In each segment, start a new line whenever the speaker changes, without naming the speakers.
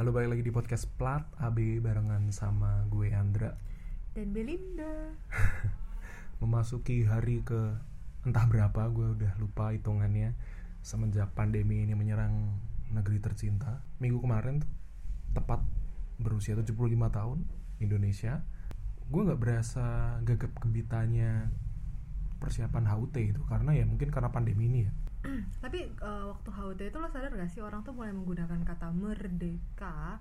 Halo balik lagi di podcast Plat AB barengan sama gue Andra
dan Belinda.
Memasuki hari ke entah berapa gue udah lupa hitungannya Semenjak pandemi ini menyerang negeri tercinta Minggu kemarin tuh tepat berusia 75 tahun Indonesia Gue gak berasa gagap gembitanya persiapan HUT itu Karena ya mungkin karena pandemi ini ya
Tapi eh, waktu HUT itu lo sadar gak sih orang tuh mulai menggunakan kata merdeka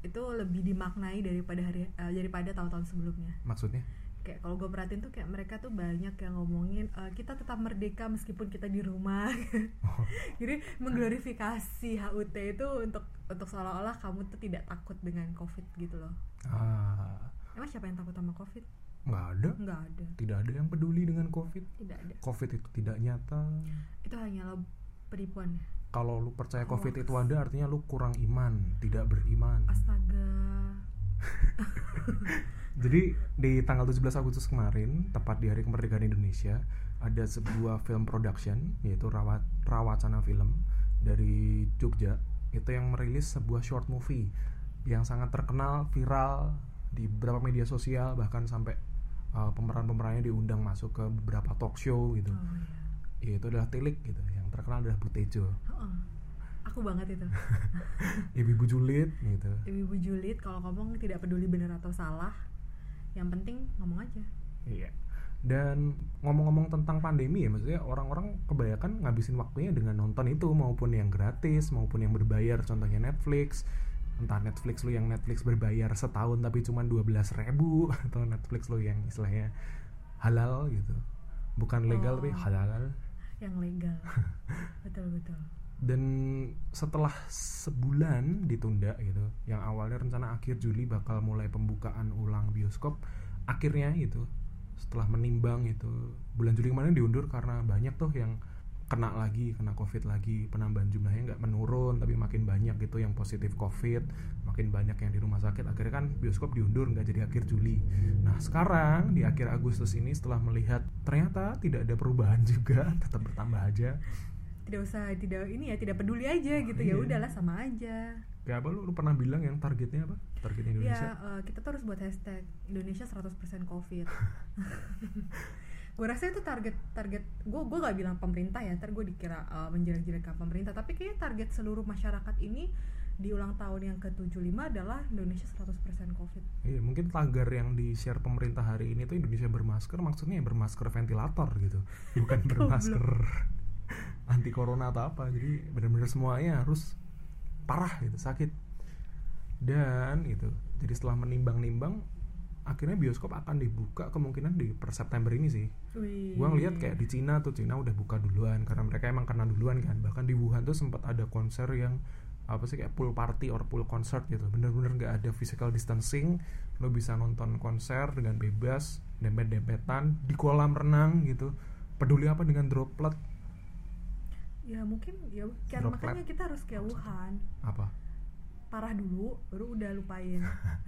itu lebih dimaknai daripada hari eh, daripada tahun-tahun sebelumnya.
Maksudnya
Kayak kalau gue perhatiin tuh kayak mereka tuh banyak yang ngomongin eh, kita tetap merdeka meskipun kita di rumah. Jadi mengglorifikasi HUT itu untuk untuk seolah-olah kamu tuh tidak takut dengan COVID gitu loh.
ah,
Emang siapa yang takut sama COVID?
Gak ada
Nggak ada,
Tidak ada yang peduli dengan covid
tidak ada.
Covid itu tidak nyata
Itu hanyalah penipuan. ya?
kalau lu percaya covid
Hoax.
itu ada artinya lu kurang iman tidak beriman
Astaga.
jadi di tanggal 17 Agustus kemarin tepat di hari kemerdekaan Indonesia ada sebuah film production yaitu Rawat Rawacana Film dari Jogja itu yang merilis sebuah short movie yang sangat terkenal viral di beberapa media sosial bahkan sampai uh, pemeran-pemerannya diundang masuk ke beberapa talk show gitu
Oh ya.
yaitu adalah Tilik gitu yang terkenal adalah Butejo
Heeh. Aku banget itu.
ibu-ibu julid gitu
Ibu-ibu julid kalau ngomong tidak peduli benar atau salah. Yang penting ngomong aja.
Iya. Dan ngomong-ngomong tentang pandemi ya, maksudnya orang-orang kebanyakan ngabisin waktunya dengan nonton itu maupun yang gratis maupun yang berbayar, contohnya Netflix. Entah Netflix lu yang Netflix berbayar setahun tapi cuma 12.000 ribu atau Netflix lu yang istilahnya halal gitu. Bukan legal
Oh.
tapi halal.
Yang legal. betul betul.
Dan setelah sebulan ditunda gitu, yang awalnya rencana akhir Juli bakal mulai pembukaan ulang bioskop, akhirnya gitu setelah menimbang itu bulan Juli kemarin diundur karena banyak tuh yang kena lagi kena covid lagi penambahan jumlahnya nggak menurun tapi makin banyak gitu yang positif covid makin banyak yang di rumah sakit akhirnya kan bioskop diundur nggak jadi akhir Juli nah sekarang di akhir Agustus ini setelah melihat ternyata tidak ada perubahan juga tetap bertambah aja
Tidak usah tidak ini ya tidak peduli aja gitu
iya.
ya udahlah sama aja.
Kayak Ya, apa lu, lu pernah bilang yang targetnya apa? Target Indonesia.
Ya eh, kita tuh harus buat hashtag Indonesia 100% Covid. gue rasa itu target target gue gue gak bilang pemerintah ya ntar gue dikira eh, menjelek-jelekkan pemerintah tapi kayaknya target seluruh masyarakat ini di ulang tahun yang ke-75 adalah Indonesia 100% Covid.
Iya, mungkin tagar yang di-share pemerintah hari ini tuh Indonesia bermasker maksudnya ya bermasker ventilator gitu. Bukan bermasker anti corona atau apa. Jadi benar-benar semuanya harus parah gitu, sakit. Dan gitu. Jadi setelah menimbang-nimbang akhirnya bioskop akan dibuka kemungkinan di per September ini sih.
Wih.
Gua ngeliat kayak di Cina tuh Cina udah buka duluan karena mereka emang kena duluan kan bahkan di Wuhan tuh sempat ada konser yang apa sih kayak pool party or pool concert gitu bener-bener nggak ada physical distancing lo bisa nonton konser dengan bebas dempet-dempetan di kolam renang gitu peduli apa dengan droplet
ya mungkin ya kan
Droplet.
makanya kita harus kayak Wuhan
apa
parah dulu baru udah lupain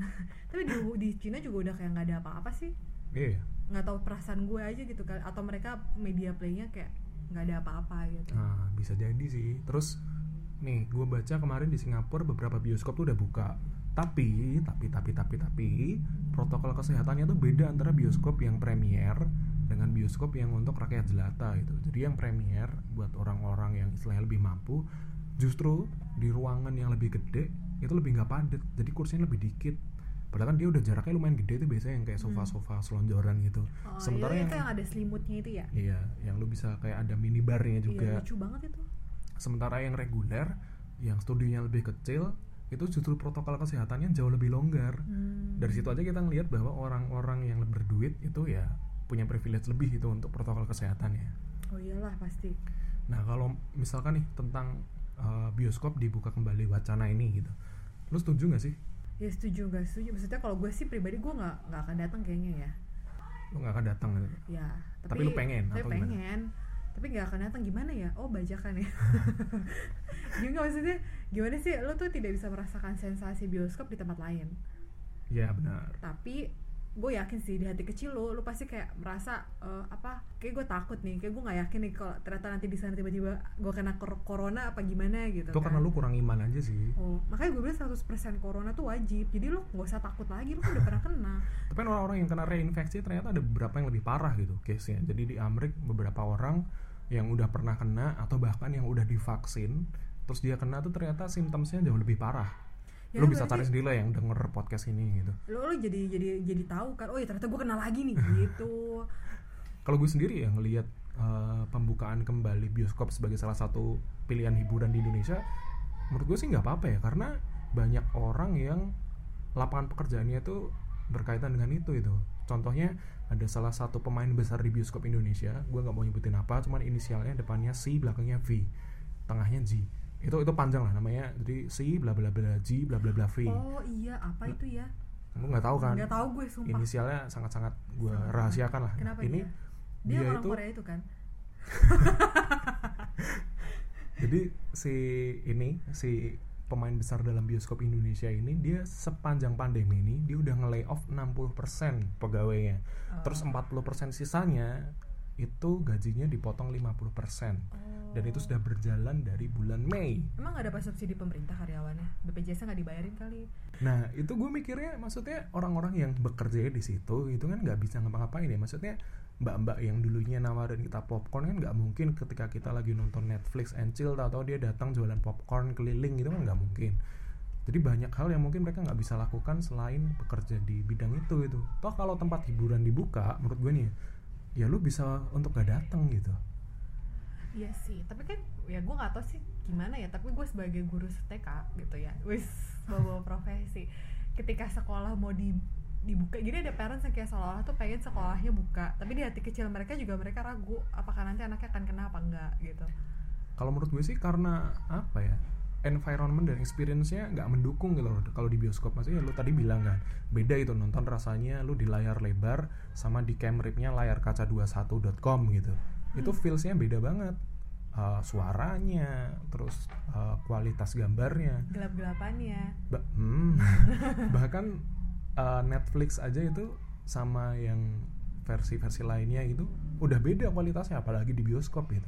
tapi di di Cina juga udah kayak nggak ada apa-apa sih
iya
nggak tahu perasaan gue aja gitu kan atau mereka media playnya kayak nggak ada apa-apa gitu
Nah, bisa jadi sih. Terus nih, gue baca kemarin di Singapura beberapa bioskop tuh udah buka. Tapi, tapi, tapi, tapi, tapi protokol kesehatannya tuh beda antara bioskop yang premier dengan bioskop yang untuk rakyat jelata gitu. Jadi yang premier buat orang-orang yang istilahnya lebih mampu, justru di ruangan yang lebih gede itu lebih nggak padat. Jadi kursinya lebih dikit. Padahal kan dia udah jaraknya lumayan gede tuh biasanya yang kayak sofa-sofa selonjoran gitu.
oh,
Sementara
iya,
yang
itu yang ada selimutnya itu ya
Iya, yang lu bisa kayak ada minibarnya juga.
Iya, lucu banget itu
Sementara yang reguler, yang studionya lebih kecil, itu justru protokol kesehatannya jauh lebih longgar.
Hmm.
Dari situ aja kita ngelihat bahwa orang-orang yang berduit itu ya punya privilege lebih itu untuk protokol kesehatannya.
oh iyalah pasti
Nah kalau misalkan nih tentang eh, bioskop dibuka kembali wacana ini gitu, lu setuju nggak sih?
ya setuju nggak setuju maksudnya kalau gue sih pribadi gue nggak nggak akan datang kayaknya ya
Lu nggak akan datang gitu.
ya
Tapi lu pengen
tapi
atau gimana?
pengen tapi nggak akan datang gimana ya oh bajakan ya juga maksudnya gimana sih lo tuh tidak bisa merasakan sensasi bioskop di tempat lain
Ya benar.
tapi gue yakin sih di hati kecil lo lo pasti kayak merasa eh, apa kayak gue takut nih kayak gue nggak yakin nih kalau ternyata nanti di sana tiba-tiba gue kena kor- corona apa gimana
itu
gitu kan.
karena lu kurang iman aja sih
Oh, makanya gue bilang 100% corona tuh wajib. Jadi lo nggak usah takut lagi, lo kan udah pernah kena.
tapi kan orang-orang yang kena reinfeksi ternyata ada beberapa yang lebih parah gitu case nya jadi di Amerika beberapa orang yang udah pernah kena atau bahkan yang udah divaksin terus dia kena tuh ternyata symptomsnya jauh lebih parah
Ya,
lu bisa cari
berarti-
sendiri lah yang denger podcast ini gitu
Lo, lo jadi jadi jadi tahu kan. Oh ya ternyata gue kena lagi nih gitu.
kalau gue sendiri ya ngelihat eh, pembukaan kembali bioskop sebagai salah satu pilihan hiburan di Indonesia menurut gue sih nggak apa-apa ya karena banyak orang yang lapangan pekerjaannya itu berkaitan dengan itu itu contohnya ada salah satu pemain besar di bioskop Indonesia gue nggak mau nyebutin apa cuman inisialnya depannya C belakangnya V tengahnya G itu itu panjang lah namanya jadi C bla bla bla G bla bla bla V
Oh iya, apa itu ya?
lu nggak Nah, tahu kan
Nggak tahu gue sumpah.
inisialnya sangat-sangat gue
Sangat-sangat.
rahasiakan lah
Kenapa
ini
dia? Dia,
dia
orang
itu-
Korea itu kan.
Jadi si ini si pemain besar dalam bioskop Indonesia ini dia sepanjang pandemi ini dia udah nge-layoff 60% pegawainya.
Oh.
Terus 40% sisanya itu gajinya dipotong 50%.
Oh.
Dan itu sudah berjalan dari bulan Mei.
Emang gak dapat subsidi pemerintah karyawannya? BPJS nggak dibayarin kali?
Nah itu gue mikirnya maksudnya orang-orang yang bekerja di situ itu kan nggak bisa ngapa-ngapain ya maksudnya mbak-mbak yang dulunya nawarin kita popcorn kan nggak mungkin ketika kita lagi nonton Netflix and chill atau dia datang jualan popcorn keliling gitu kan nggak mungkin jadi banyak hal yang mungkin mereka nggak bisa lakukan selain bekerja di bidang itu gitu toh kalau tempat hiburan dibuka menurut gue nih ya lu bisa untuk gak datang gitu
Iya sih, tapi kan ya gue nggak tahu sih gimana ya. Tapi gue sebagai guru TK gitu ya, wis bawa profesi. Ketika sekolah mau di dibuka, jadi ada parents yang kayak seolah tuh pengen sekolahnya buka, tapi di hati kecil mereka juga mereka ragu apakah nanti anaknya akan kena apa enggak gitu.
kalau menurut gue sih karena apa ya environment dan experience-nya nggak mendukung gitu loh kalau di bioskop maksudnya lu tadi bilang kan beda itu nonton rasanya lu di layar lebar sama di camripnya layar kaca 21.com gitu itu feels-nya beda banget Uh, suaranya terus uh, kualitas gambarnya
Gelap-gelapannya.
Ba- hmm. bahkan uh, Netflix aja itu sama yang versi-versi lainnya itu udah beda kualitasnya apalagi di bioskop gitu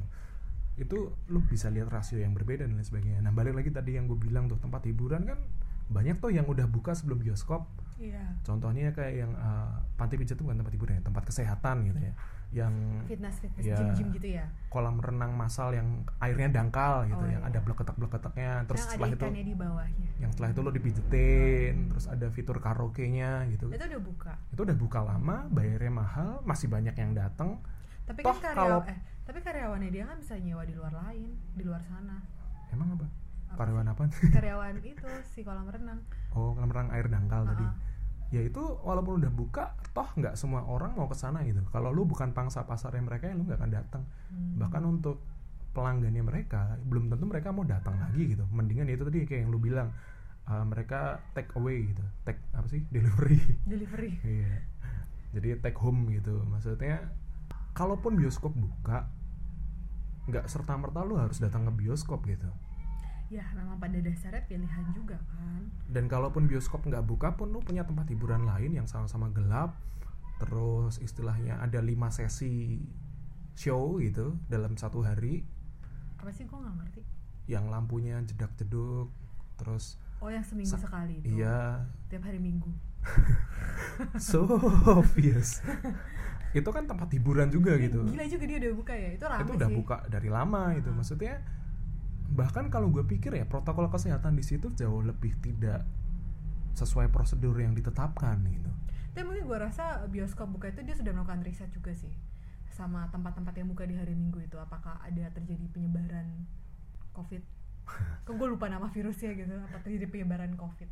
itu lu bisa lihat rasio yang berbeda dan lain sebagainya nah balik lagi tadi yang gue bilang tuh tempat hiburan kan banyak tuh yang udah buka sebelum bioskop
Iya.
contohnya kayak yang uh, panti pijat itu bukan tempat hiburan ya tempat kesehatan gitu ya yang
Fitness, fitness,
Iya.
gym-gym gitu ya.
kolam renang massal yang airnya dangkal gitu
Oh,
yang
iya.
ada bleketak-bleketaknya terus
yang ada
setelah itu
ikannya di bawahnya.
yang setelah itu lo dipijetin terus ada fitur karaoke-nya gitu
Itu udah buka.
itu udah buka lama bayarnya mahal masih banyak yang datang
Tapi
Toh,
kan
kalau-
karyawan, eh, tapi karyawannya dia kan bisa nyewa di luar lain, di luar sana.
emang apa
Apa
karyawan apa
karyawan itu si kolam renang
oh kolam renang air dangkal tadi
Ah.
ya itu walaupun udah buka toh nggak semua orang mau ke sana gitu kalau lu bukan pangsa pasarnya mereka ya lu nggak akan datang
Hmm.
bahkan untuk pelanggannya mereka belum tentu mereka mau datang lagi gitu mendingan ya itu tadi kayak yang lu bilang eh, mereka take away gitu take apa sih delivery
delivery
Iya. Jadi take home gitu. Maksudnya kalaupun bioskop buka nggak serta merta lu harus datang ke bioskop gitu.
ya memang pada dasarnya pilihan juga kan
Dan kalaupun bioskop nggak buka pun lu punya tempat hiburan lain yang sama-sama gelap. Terus istilahnya ada lima sesi show gitu dalam satu hari
apa sih gue nggak ngerti
yang lampunya jedak-jeduk terus
oh yang seminggu
Sa-
sekali itu
iya
tiap hari minggu
so obvious itu kan tempat hiburan juga
Eh,
gitu
gila juga dia udah buka ya itu rame
itu udah
sih Hmm.
buka dari lama itu maksudnya bahkan kalau gue pikir ya protokol kesehatan di situ jauh lebih tidak sesuai prosedur yang ditetapkan gitu
tapi mungkin gue rasa bioskop buka itu dia sudah melakukan riset juga sih sama tempat-tempat yang buka di hari minggu itu apakah ada terjadi penyebaran covid kok gue lupa nama virusnya gitu apa terjadi penyebaran covid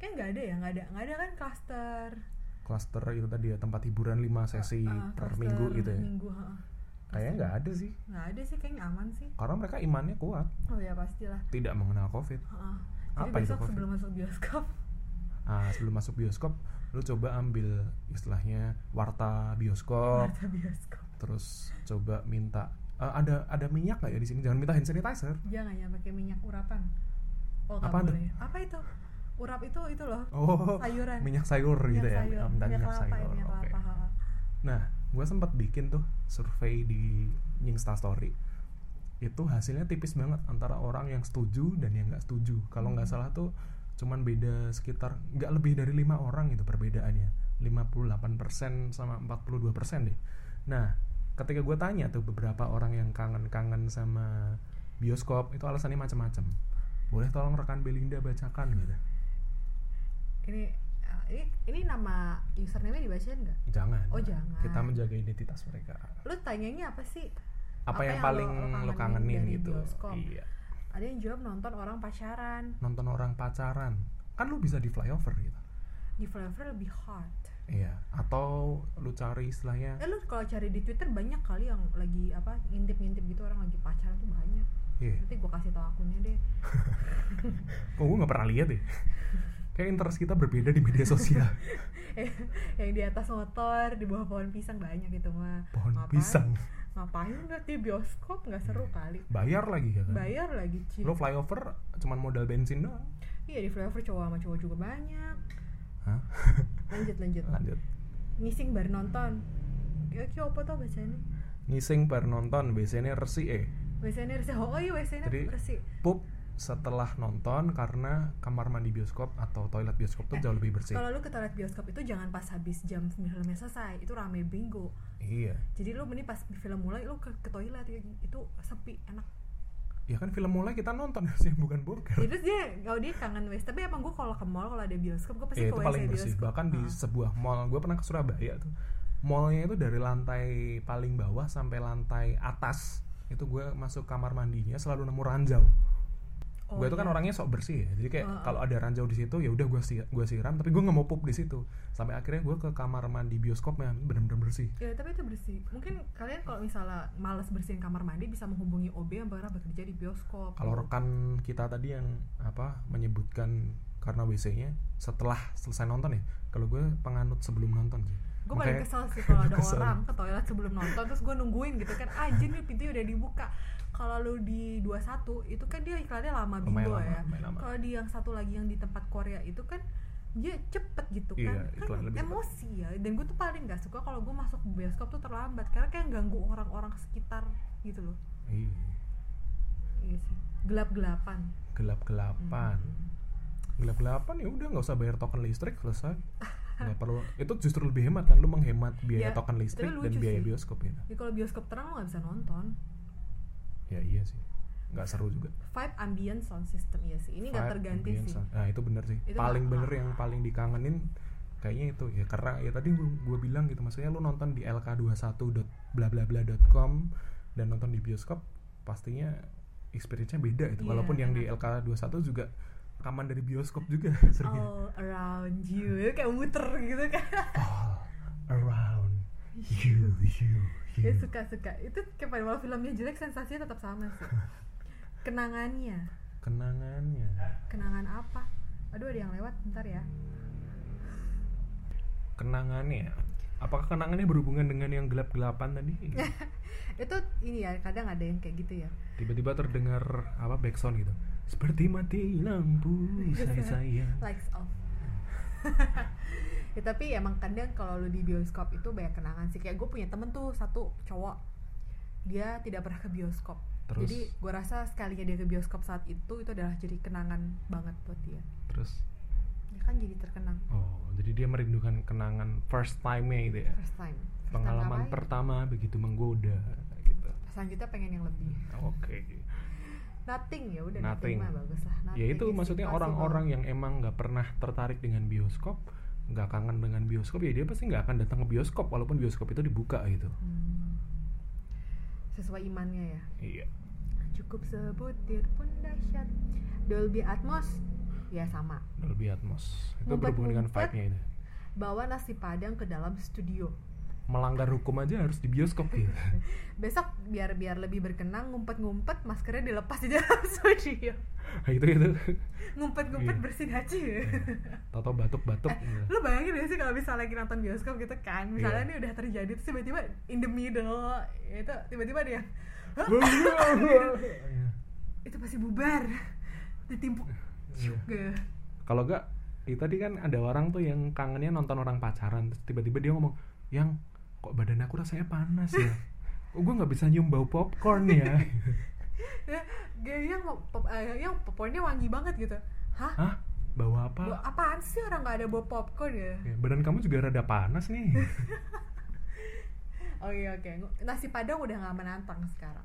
kan nggak ada ya nggak ada nggak ada kan klaster
klaster itu tadi ya tempat hiburan 5 sesi
eh,
per
klaster Hmm.
minggu gitu ya
minggu heeh.
kayaknya nggak ada sih
nggak ada sih kayaknya aman sih
karena mereka imannya kuat
oh ya pastilah
tidak mengenal covid
Heeh.
Apa
Jadi
itu
besok
Covid?
sebelum masuk bioskop
Ah, sebelum masuk bioskop lu coba ambil istilahnya warta bioskop
Warta bioskop
terus coba minta "Eh, ada ada minyak nggak ya di sini jangan minta hand sanitizer
Jangan ya pakai minyak urapan Oh nggak
Apaan tuh?
boleh Apa itu? urap itu itu loh
Oh,
sayuran
minyak sayur
minyak
gitu ya.
sayur
Minyak,
minyak
minyak
kelapa ya,
sayur.
minyak
Oke.
kelapa ha, ha.
Nah, gue sempat bikin tuh survei di Insta Story. Itu hasilnya tipis banget antara orang yang setuju dan yang nggak setuju. Kalau
Hmm.
nggak salah tuh cuman beda sekitar nggak lebih dari lima orang gitu perbedaannya. 58% sama 42% deh. Nah, ketika gue tanya tuh beberapa orang yang kangen-kangen sama bioskop itu alasannya macam-macam. Boleh tolong rekan Belinda bacakan gitu.
ini eh, ini ini nama username dibacain nggak
Jangan.
Oh, jangan.
Kita menjaga identitas mereka.
lu tanyanya apa sih
Apa,
Apa
yang,
yang
paling
lo- lo
lo
kangenin
kangenin
dari
gitu?
bioskop?
Iya.
ada yang jawab nonton orang pacaran
nonton orang pacaran kan lu bisa di flyover gitu
di flavor lebih hard
iya atau lu cari istilahnya
eh lu kalau cari di twitter banyak kali yang lagi apa ngintip-ngintip gitu orang lagi pacaran tuh banyak
iya
nanti gua kasih tau akunnya deh
kok gue nggak pernah lihat ya kayak interest kita berbeda di media sosial
yang di atas motor di bawah pohon pisang banyak gitu mah
pohon
Ngapain-
pisang
ngapain nggak di bioskop nggak seru kali
bayar lagi ya kan
bayar lagi cil
lu flyover cuman modal bensin doang
iya di flavor cowok sama cowok juga banyak
Hah?
lanjut lanjut
lanjut
ngising baru nonton ya ki apa tau biasanya
ngising bar nonton biasanya resi eh
biasanya resi oh iya biasanya
Jadi-
resi
pup setelah nonton karena kamar mandi bioskop atau toilet bioskop tuh
Eh,
jauh lebih bersih
kalau lu ke toilet bioskop itu jangan pas habis jam filmnya selesai itu rame bingo
iya
jadi lu mending pas film mulai lu ke, ke toilet ya, itu sepi enak
ya kan film mulai kita nonton sih bukan
Jadi
burger
terus dia kalau dia kangen WC tapi emang gue kalau ke mall kalau ada bioskop gue pasti
Ya,
ke
itu
WC
paling bersih
bioskop
bahkan di
Ah.
sebuah mall gue pernah ke Surabaya tuh mallnya itu dari lantai paling bawah sampai lantai atas itu gue masuk kamar mandinya selalu nemu ranjau
Oh,
gue itu kan
iya. Ah.
orangnya sok bersih ya jadi kayak
Heeh.
kalau ada ranjau di situ ya udah gue si gue siram tapi gue nggak mau pup di situ sampai akhirnya gue ke kamar mandi bioskopnya bener-bener bersih
Ya, tapi itu bersih. Mungkin kalian kalau misalnya malas bersihin kamar mandi bisa menghubungi OB yang pernah bekerja di bioskop.
kalau rekan kita tadi yang apa menyebutkan karena WC-nya setelah selesai nonton ya kalau gue penganut sebelum nonton sih
gue paling
Makanya-
kesel sih kalau ada
Kesel.
orang ke toilet sebelum nonton terus gue nungguin gitu kan anjir nih pintunya udah dibuka kalau lu di 21 itu kan dia iklannya lama
Lumayan
bingo
lama,
ya
lumayan lama.
kalau di yang satu lagi yang di tempat Korea itu kan dia cepet gitu
Iya,
kan, kan
iklan lebih cepet.
emosi ya dan gue tuh paling gak suka kalau gue masuk bioskop tuh terlambat karena kayak ganggu orang-orang sekitar gitu loh
Iya,
iya sih gelap-gelapan
gelap-gelapan
Hmm.
gelap-gelapan ya udah nggak usah bayar token listrik selesai nggak perlu itu justru lebih hemat kan lu menghemat biaya
Ya,
token listrik
tapi
dan
lucu
biaya
sih.
bioskop gitu
Jadi Ya kalau bioskop terang lo gak bisa nonton
ya iya sih nggak seru juga
vibe ambient sound system iya sih ini gak
Vibe,
terganti
ambience,
sih
nah itu bener sih
Itu
paling
nggak-
bener yang paling dikangenin kayaknya itu ya karena ya tadi gua, gua bilang gitu maksudnya lu nonton di lk21.blablabla.com dan nonton di bioskop pastinya experience-nya beda itu
Iya,
walaupun yang di
enak.
lk21 juga rekaman dari bioskop juga seringnya
all around you kayak muter gitu kan
all around you, you, you.
ya suka suka itu kayak pada walau filmnya jelek sensasinya tetap sama sih kenangannya
Kenangannya.
kenangan apa aduh ada yang lewat bentar ya
Kenangannya. Apakah kenangannya berhubungan dengan yang gelap-gelapan tadi?
itu ini ya kadang ada yang kayak gitu ya
Tiba-tiba terdengar apa backsound gitu. Seperti mati lampu, saya sayang.
likes off ya, tapi emang kadang kalau lu di bioskop itu banyak kenangan sih kayak gue punya temen tuh satu cowok dia tidak pernah ke bioskop
Terus?
jadi gue rasa sekalinya dia ke bioskop saat itu itu adalah jadi kenangan banget buat dia
Terus,
dia kan jadi terkenang
oh, jadi dia merindukan kenangan first time-nya gitu ya.
first time First time
Pengalaman
ngapain?
pertama begitu menggoda gitu. Nah,
selanjutnya pengen yang lebih
Oke.
nothing ya udah
Nothing.
mah bagus lah
Ya
Nothing
itu
is
maksudnya
impossible.
orang-orang ya. yang emang nggak pernah tertarik dengan bioskop, nggak kangen dengan bioskop ya dia pasti nggak akan datang ke bioskop walaupun bioskop itu dibuka gitu.
Hmm. sesuai imannya ya
Iya.
cukup sebutir pun dahsyat Dolby Atmos ya sama
Dolby Atmos. Itu
Ngumpet-ngumpet.
berhubungan dengan vibe-nya itu.
bawa nasi padang ke dalam studio
Melanggar hukum aja harus di bioskop gitu.
besok biar biar lebih berkenang ngumpet-ngumpet maskernya dilepas di dalam studio
itu itu.
ngumpet-ngumpet
Iya.
bersih aja ya.
Tato batuk-batuk. gitu.
Eh, lu bayangin gak sih kalau misalnya lagi nonton bioskop gitu kan
Iya.
misalnya ini udah terjadi terus tiba-tiba in the middle itu tiba-tiba ada yang "Hah?"
Iya. Iya.
itu pasti bubar ditimpuk juga
kalau enggak itu tadi kan ada orang tuh yang kangennya nonton orang pacaran terus tiba-tiba dia ngomong yang kok badan aku rasanya panas ya oh, gue nggak bisa nyium bau popcorn ya
Gaya Ya, yang pop, eh, yang popcornnya wangi banget gitu. Hah?
hah bau
Bawa
apa
apaan sih orang nggak ada bawa popcorn ya?
Ya, badan kamu juga rada panas nih
Oh iya oke. Nasi Padang udah nggak menantang sekarang.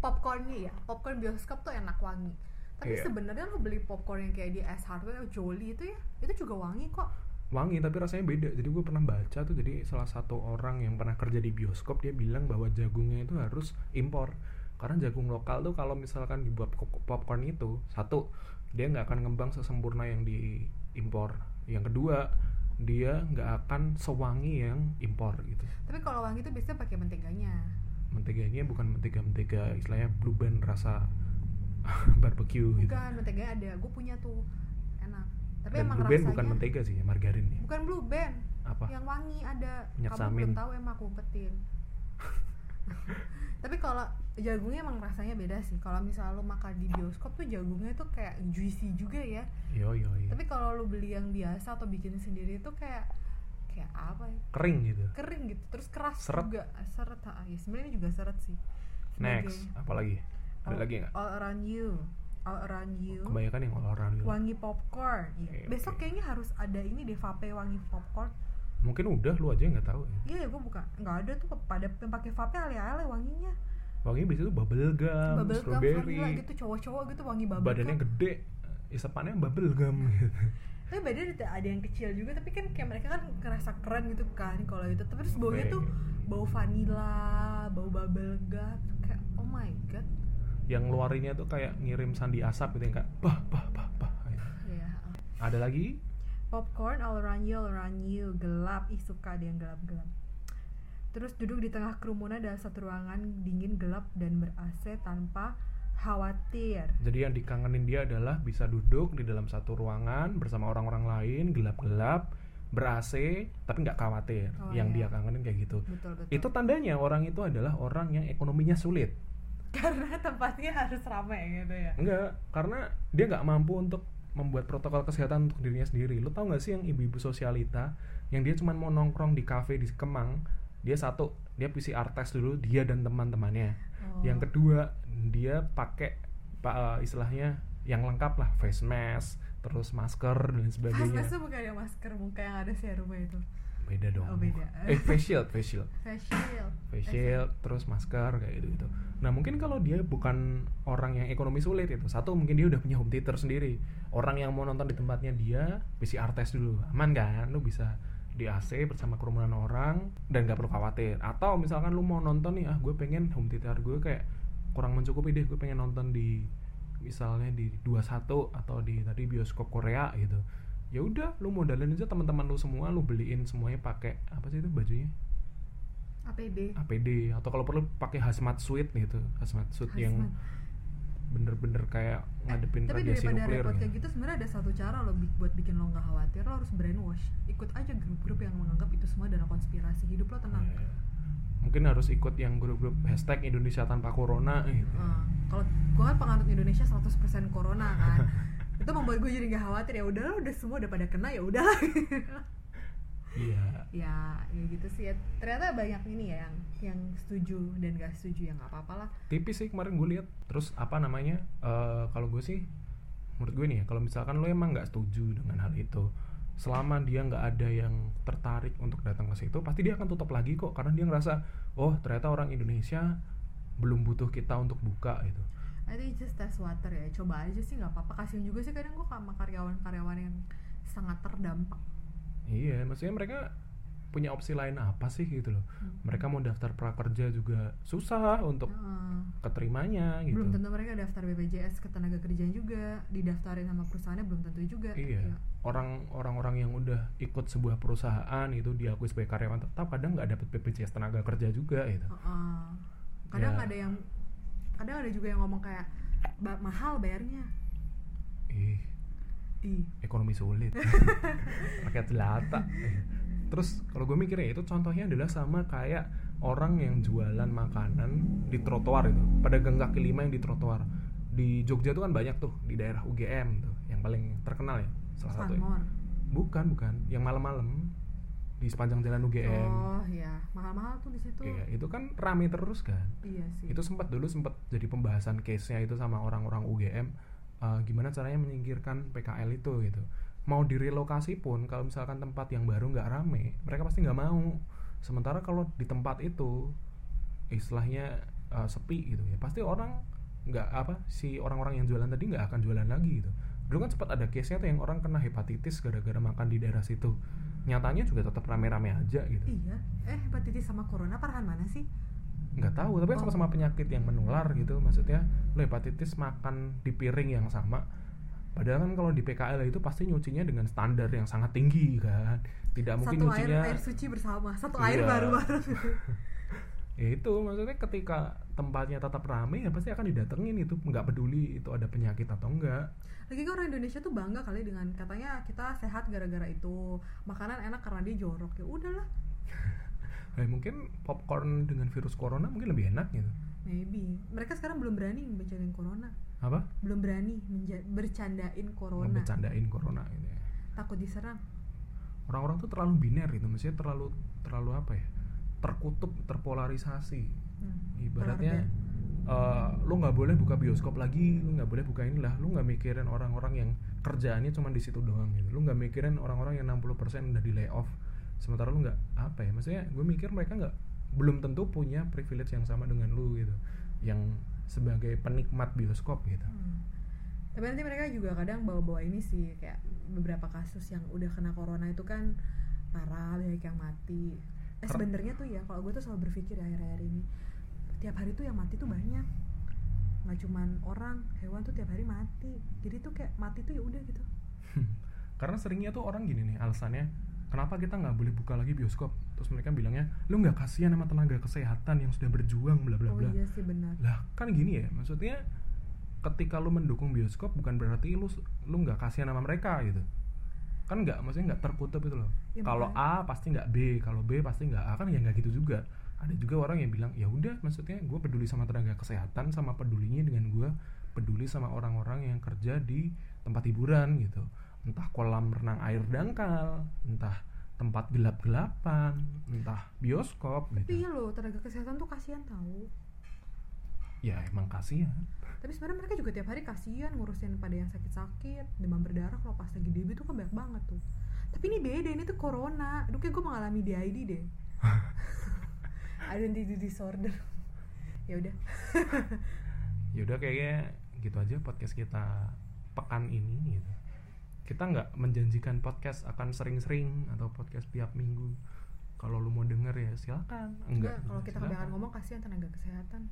Popcornnya ya, popcorn bioskop tuh enak wangi. Tapi
Iya.
sebenarnya lo beli popcorn yang kayak di S Hardware atau Jolly itu ya, itu juga wangi kok.
wangi tapi rasanya beda jadi gue pernah baca tuh jadi salah satu orang yang pernah kerja di bioskop dia bilang bahwa jagungnya itu harus impor karena jagung lokal tuh kalau misalkan dibuat pop- popcorn itu satu dia nggak akan ngembang sesempurna yang diimpor yang kedua dia nggak akan sewangi yang impor gitu
Tapi kalau wangi itu biasanya pakai menteganya.
menteganya bukan mentega mentega istilahnya blue band rasa barbecue gitu
Bukan menteganya ada, gue punya tuh enak. Tapi
dan
emang
blue band
rasanya
bukan mentega sih ya margarin ya
bukan blue band,
apa
yang wangi ada.
Minyak
Kamu belum
samin.
tahu emang aku umpetin. Tapi kalau jagungnya emang rasanya beda sih. Kalau misal lo makan di bioskop tuh jagungnya tuh kayak juicy juga ya.
yo yo yo.
tapi kalau lu beli yang biasa atau bikin sendiri itu kayak kayak apa ya
kering gitu
kering gitu terus keras
Seret.
juga Ah, seret ah, ya sebenarnya juga seret sih Sebagai
next apalagi ada
all,
lagi nggak
all around you all around you
kebanyakan yang all around gitu.
wangi popcorn Iya.
Oke,
besok
oke.
kayaknya harus ada ini deh vape wangi popcorn
mungkin udah lu aja yang nggak tahu ya.
iya ya gue buka nggak ada tuh pada yang pakai vape ale-ale wanginya
wanginya biasanya tuh bubble gum,
bubble gum
strawberry
vanilla gitu cowok-cowok gitu wangi bubble
badannya
gum
gede isapannya bubble gum gitu.
tapi badannya ada- ada yang kecil juga tapi kan kayak mereka kan ngerasa keren gitu kan kalau itu tapi terus baunya tuh bau vanilla, bau bubble gum, tuh kayak oh my god.
yang luarinya tuh kayak ngirim sandi asap gitu yang kayak bah bah bah bah gitu.
Ya.
ada lagi
Popcorn all around you, all around you, gelap, ih suka ada yang gelap-gelap. Terus duduk di tengah kerumunan dalam satu ruangan dingin gelap dan ber-AC tanpa khawatir.
jadi yang dikangenin dia adalah bisa duduk di dalam satu ruangan bersama orang-orang lain gelap-gelap ber AC tapi nggak khawatir
Oh,
yang dia
iya.
kangenin kayak gitu
Betul betul.
itu tandanya orang itu adalah orang yang ekonominya sulit
karena tempatnya harus ramai gitu ya.
Enggak, karena dia nggak mampu untuk membuat protokol kesehatan untuk dirinya sendiri. Lo tau nggak sih yang ibu-ibu sosialita yang dia cuma mau nongkrong di kafe di Kemang, dia satu dia PCR test dulu dia dan teman-temannya.
Oh.
Yang kedua dia pakai pa- eh, istilahnya yang lengkap lah face mask, terus masker dan
Mas,
sebagainya.
mas tuh bukan yang masker muka yang ada serumnya itu.
Beda dong.
Oh, beda.
Eh face shield, face shield.
Face shield.
face shield, terus masker kayak gitu gitu. Nah mungkin kalau dia bukan orang yang ekonomi sulit itu, satu mungkin dia udah punya home theater sendiri. Orang yang mau nonton di tempatnya dia PCR test dulu, aman kan? Lu bisa di AC bersama kerumunan orang dan gak perlu khawatir. Atau misalkan lu mau nonton nih, ah gue pengen home theater gue kayak kurang mencukupi deh, gue pengen nonton di misalnya di 21 atau di tadi bioskop Korea gitu. Ya udah, lu modalin aja teman-teman lu semua, lu beliin semuanya pakai apa sih itu bajunya?
APD.
APD atau kalau perlu pakai hazmat suit gitu hazmat suit yang
Hazmat.
bener-bener kayak ngadepin
tapi
radiasi
daripada
nuklir
repot
gitu.
kayak gitu sebenarnya ada satu cara lo bi- buat bikin lo nggak khawatir lo harus brainwash ikut aja grup-grup yang menganggap itu semua adalah konspirasi hidup lo tenang
Iya. mungkin harus ikut yang grup-grup hashtag Indonesia tanpa Corona gitu
Eh, kalau gue kan penganut Indonesia 100% corona kan itu membuat gue jadi nggak khawatir ya udahlah udah semua udah pada kena ya udahlah
iya
ya ya gitu sih ya. ternyata banyak ini ya yang yang setuju dan gak setuju yang nggak apa-apalah
tipis sih kemarin gue lihat terus apa namanya eh, kalau gue sih menurut gue nih ya kalau misalkan lo emang nggak setuju dengan hal itu selama dia nggak ada yang tertarik untuk datang ke situ pasti dia akan tutup lagi kok karena dia ngerasa oh ternyata orang Indonesia belum butuh kita untuk buka gitu
I think just test water ya coba aja sih nggak apa-apa kasihan juga sih kadang gue sama karyawan-karyawan yang sangat terdampak
Iya, maksudnya mereka punya opsi lain apa sih gitu loh.
Hmm.
Mereka mau daftar prakerja juga susah untuk
Heeh.
keterimanya Oh. gitu.
belum tentu mereka daftar BPJS ketenaga kerjaan juga didaftarin sama perusahaannya belum tentu juga
Iya.
Ya.
Orang orang-orang yang udah ikut sebuah perusahaan itu diakui sebagai karyawan tetap kadang nggak dapet BPJS tenaga kerja juga
Oh.
gitu.
Heeh. kadang
Ya.
ada yang kadang ada juga yang ngomong kayak "Ba- mahal bayarnya
Ih,
di
ekonomi sulit. Rakyat jelata. Terus kalau gue mikirnya itu contohnya adalah sama kayak orang yang jualan makanan di trotoar itu, pada gang kaki lima yang di trotoar. di Jogja tuh kan banyak tuh di daerah UGM tuh yang paling terkenal ya salah satu ya.
Sunmore.
bukan bukan yang malam-malam di sepanjang jalan UGM
Oh ya, mahal-mahal tuh di situ.
Iya, itu kan rame terus kan
Iya sih.
itu sempat dulu sempat jadi pembahasan case-nya itu sama orang-orang UGM eh, gimana caranya menyingkirkan PKL itu gitu mau direlokasi pun kalau misalkan tempat yang baru nggak rame mereka pasti nggak mau sementara kalau di tempat itu istilahnya eh, sepi gitu ya pasti orang nggak apa si orang-orang yang jualan tadi nggak akan jualan lagi gitu dulu kan sempat ada case-nya tuh yang orang kena hepatitis gara-gara makan di daerah situ nyatanya juga tetap rame-rame aja gitu
Iya. Eh, hepatitis sama corona parahan mana sih?
nggak tahu tapi kan
Oh.
sama-sama penyakit yang menular gitu maksudnya lo hepatitis makan di piring yang sama padahal kan kalau di PKL itu pasti nyucinya dengan standar yang sangat tinggi kan tidak mungkin
Satu air
nyucinya
air suci bersama, satu air
Iya.
baru-baru.
ya itu maksudnya ketika tempatnya tetap rame ya pasti akan didatengin itu nggak peduli itu ada penyakit atau enggak
Lagi kan orang Indonesia tuh bangga kali dengan katanya kita sehat gara-gara itu. Makanan enak karena dia jorok. Ya udahlah,
Eh, mungkin popcorn dengan virus corona mungkin lebih enak gitu
maybe. Mereka sekarang belum berani bercandain corona.
apa
Belum berani menja- bercandain corona.
ngebecandain corona gitu ya
Takut diserang.
orang-orang tuh terlalu biner gitu maksudnya terlalu terlalu apa ya terkutub terpolarisasi
Hmm.
ibaratnya eh, lu nggak boleh buka bioskop lagi lu nggak boleh buka inilah lu nggak mikirin orang-orang yang kerjaannya cuma di situ doang gitu lu nggak mikirin orang-orang yang 60% udah di layoff sementara lu nggak apa ya maksudnya gue mikir mereka nggak belum tentu punya privilege yang sama dengan lu gitu yang sebagai penikmat bioskop gitu
Hmm. Tapi nanti mereka juga kadang bawa-bawa ini sih kayak beberapa kasus yang udah kena corona itu kan parah banyak yang mati. Eh
Karena-
sebenarnya tuh ya kalau gue tuh selalu berpikir ya akhir-akhir ini tiap hari tuh yang mati tuh banyak nggak cuman orang hewan tuh tiap hari mati jadi tuh kayak mati tuh ya udah gitu
karena seringnya tuh orang gini nih alasannya kenapa kita nggak boleh buka lagi bioskop terus mereka bilangnya lu nggak kasihan sama tenaga kesehatan yang sudah berjuang bla bla
oh
bla
iya sih benar
lah kan gini ya maksudnya ketika lu mendukung bioskop bukan berarti lu lu nggak kasihan sama mereka gitu kan nggak maksudnya nggak terkutub itu loh
Ya,
kalau
makanya.
A pasti nggak B kalau B pasti nggak A kan ya nggak gitu juga ada juga orang yang bilang ya udah maksudnya gue peduli sama tenaga kesehatan sama pedulinya dengan gue peduli sama orang-orang yang kerja di tempat hiburan gitu entah kolam renang air dangkal entah tempat gelap-gelapan entah bioskop
tapi
gitu
iya loh tenaga kesehatan tuh kasihan tahu
ya emang kasihan
tapi sebenarnya mereka juga tiap hari kasihan ngurusin pada yang sakit-sakit demam berdarah kalau pas lagi DB tuh kan banyak banget tuh tapi ini beda ini tuh corona aduh kayak gue mengalami DID deh identity disorder ya udah
Yaudah ya kayaknya gitu aja podcast kita pekan ini gitu. Kita nggak menjanjikan podcast akan sering-sering atau podcast tiap minggu. Kalau lu mau denger ya silakan. Enggak.
Nah, kalau
silakan.
kita kebanyakan ngomong kasihan tenaga kesehatan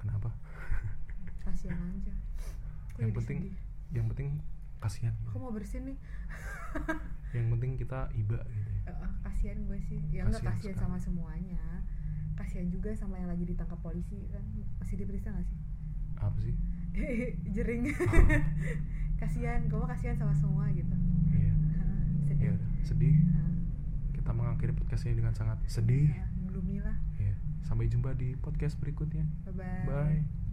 Kenapa?
kasihan aja Kok
Yang
jadi
penting
sedih?
yang penting kasihan.
aku
gitu.
mau bersin nih
Yang penting kita iba gitu ya.
Eh, eh, kasihan gue sih ya enggak
Kasihan
kasihan sama semuanya kasihan juga sama yang lagi ditangkap polisi kan masih diperiksa nggak sih
Apa sih?
jering
Ah.
kasihan gue mau kasihan sama semua gitu
Iya.
Hah, sedih
Ya udah, sedih.
Hah,
Kita mengakhiri podcast ini dengan sangat sedih.
hah, gloomy lah
Iya. Sampai jumpa di podcast berikutnya.
bye bye
Bye.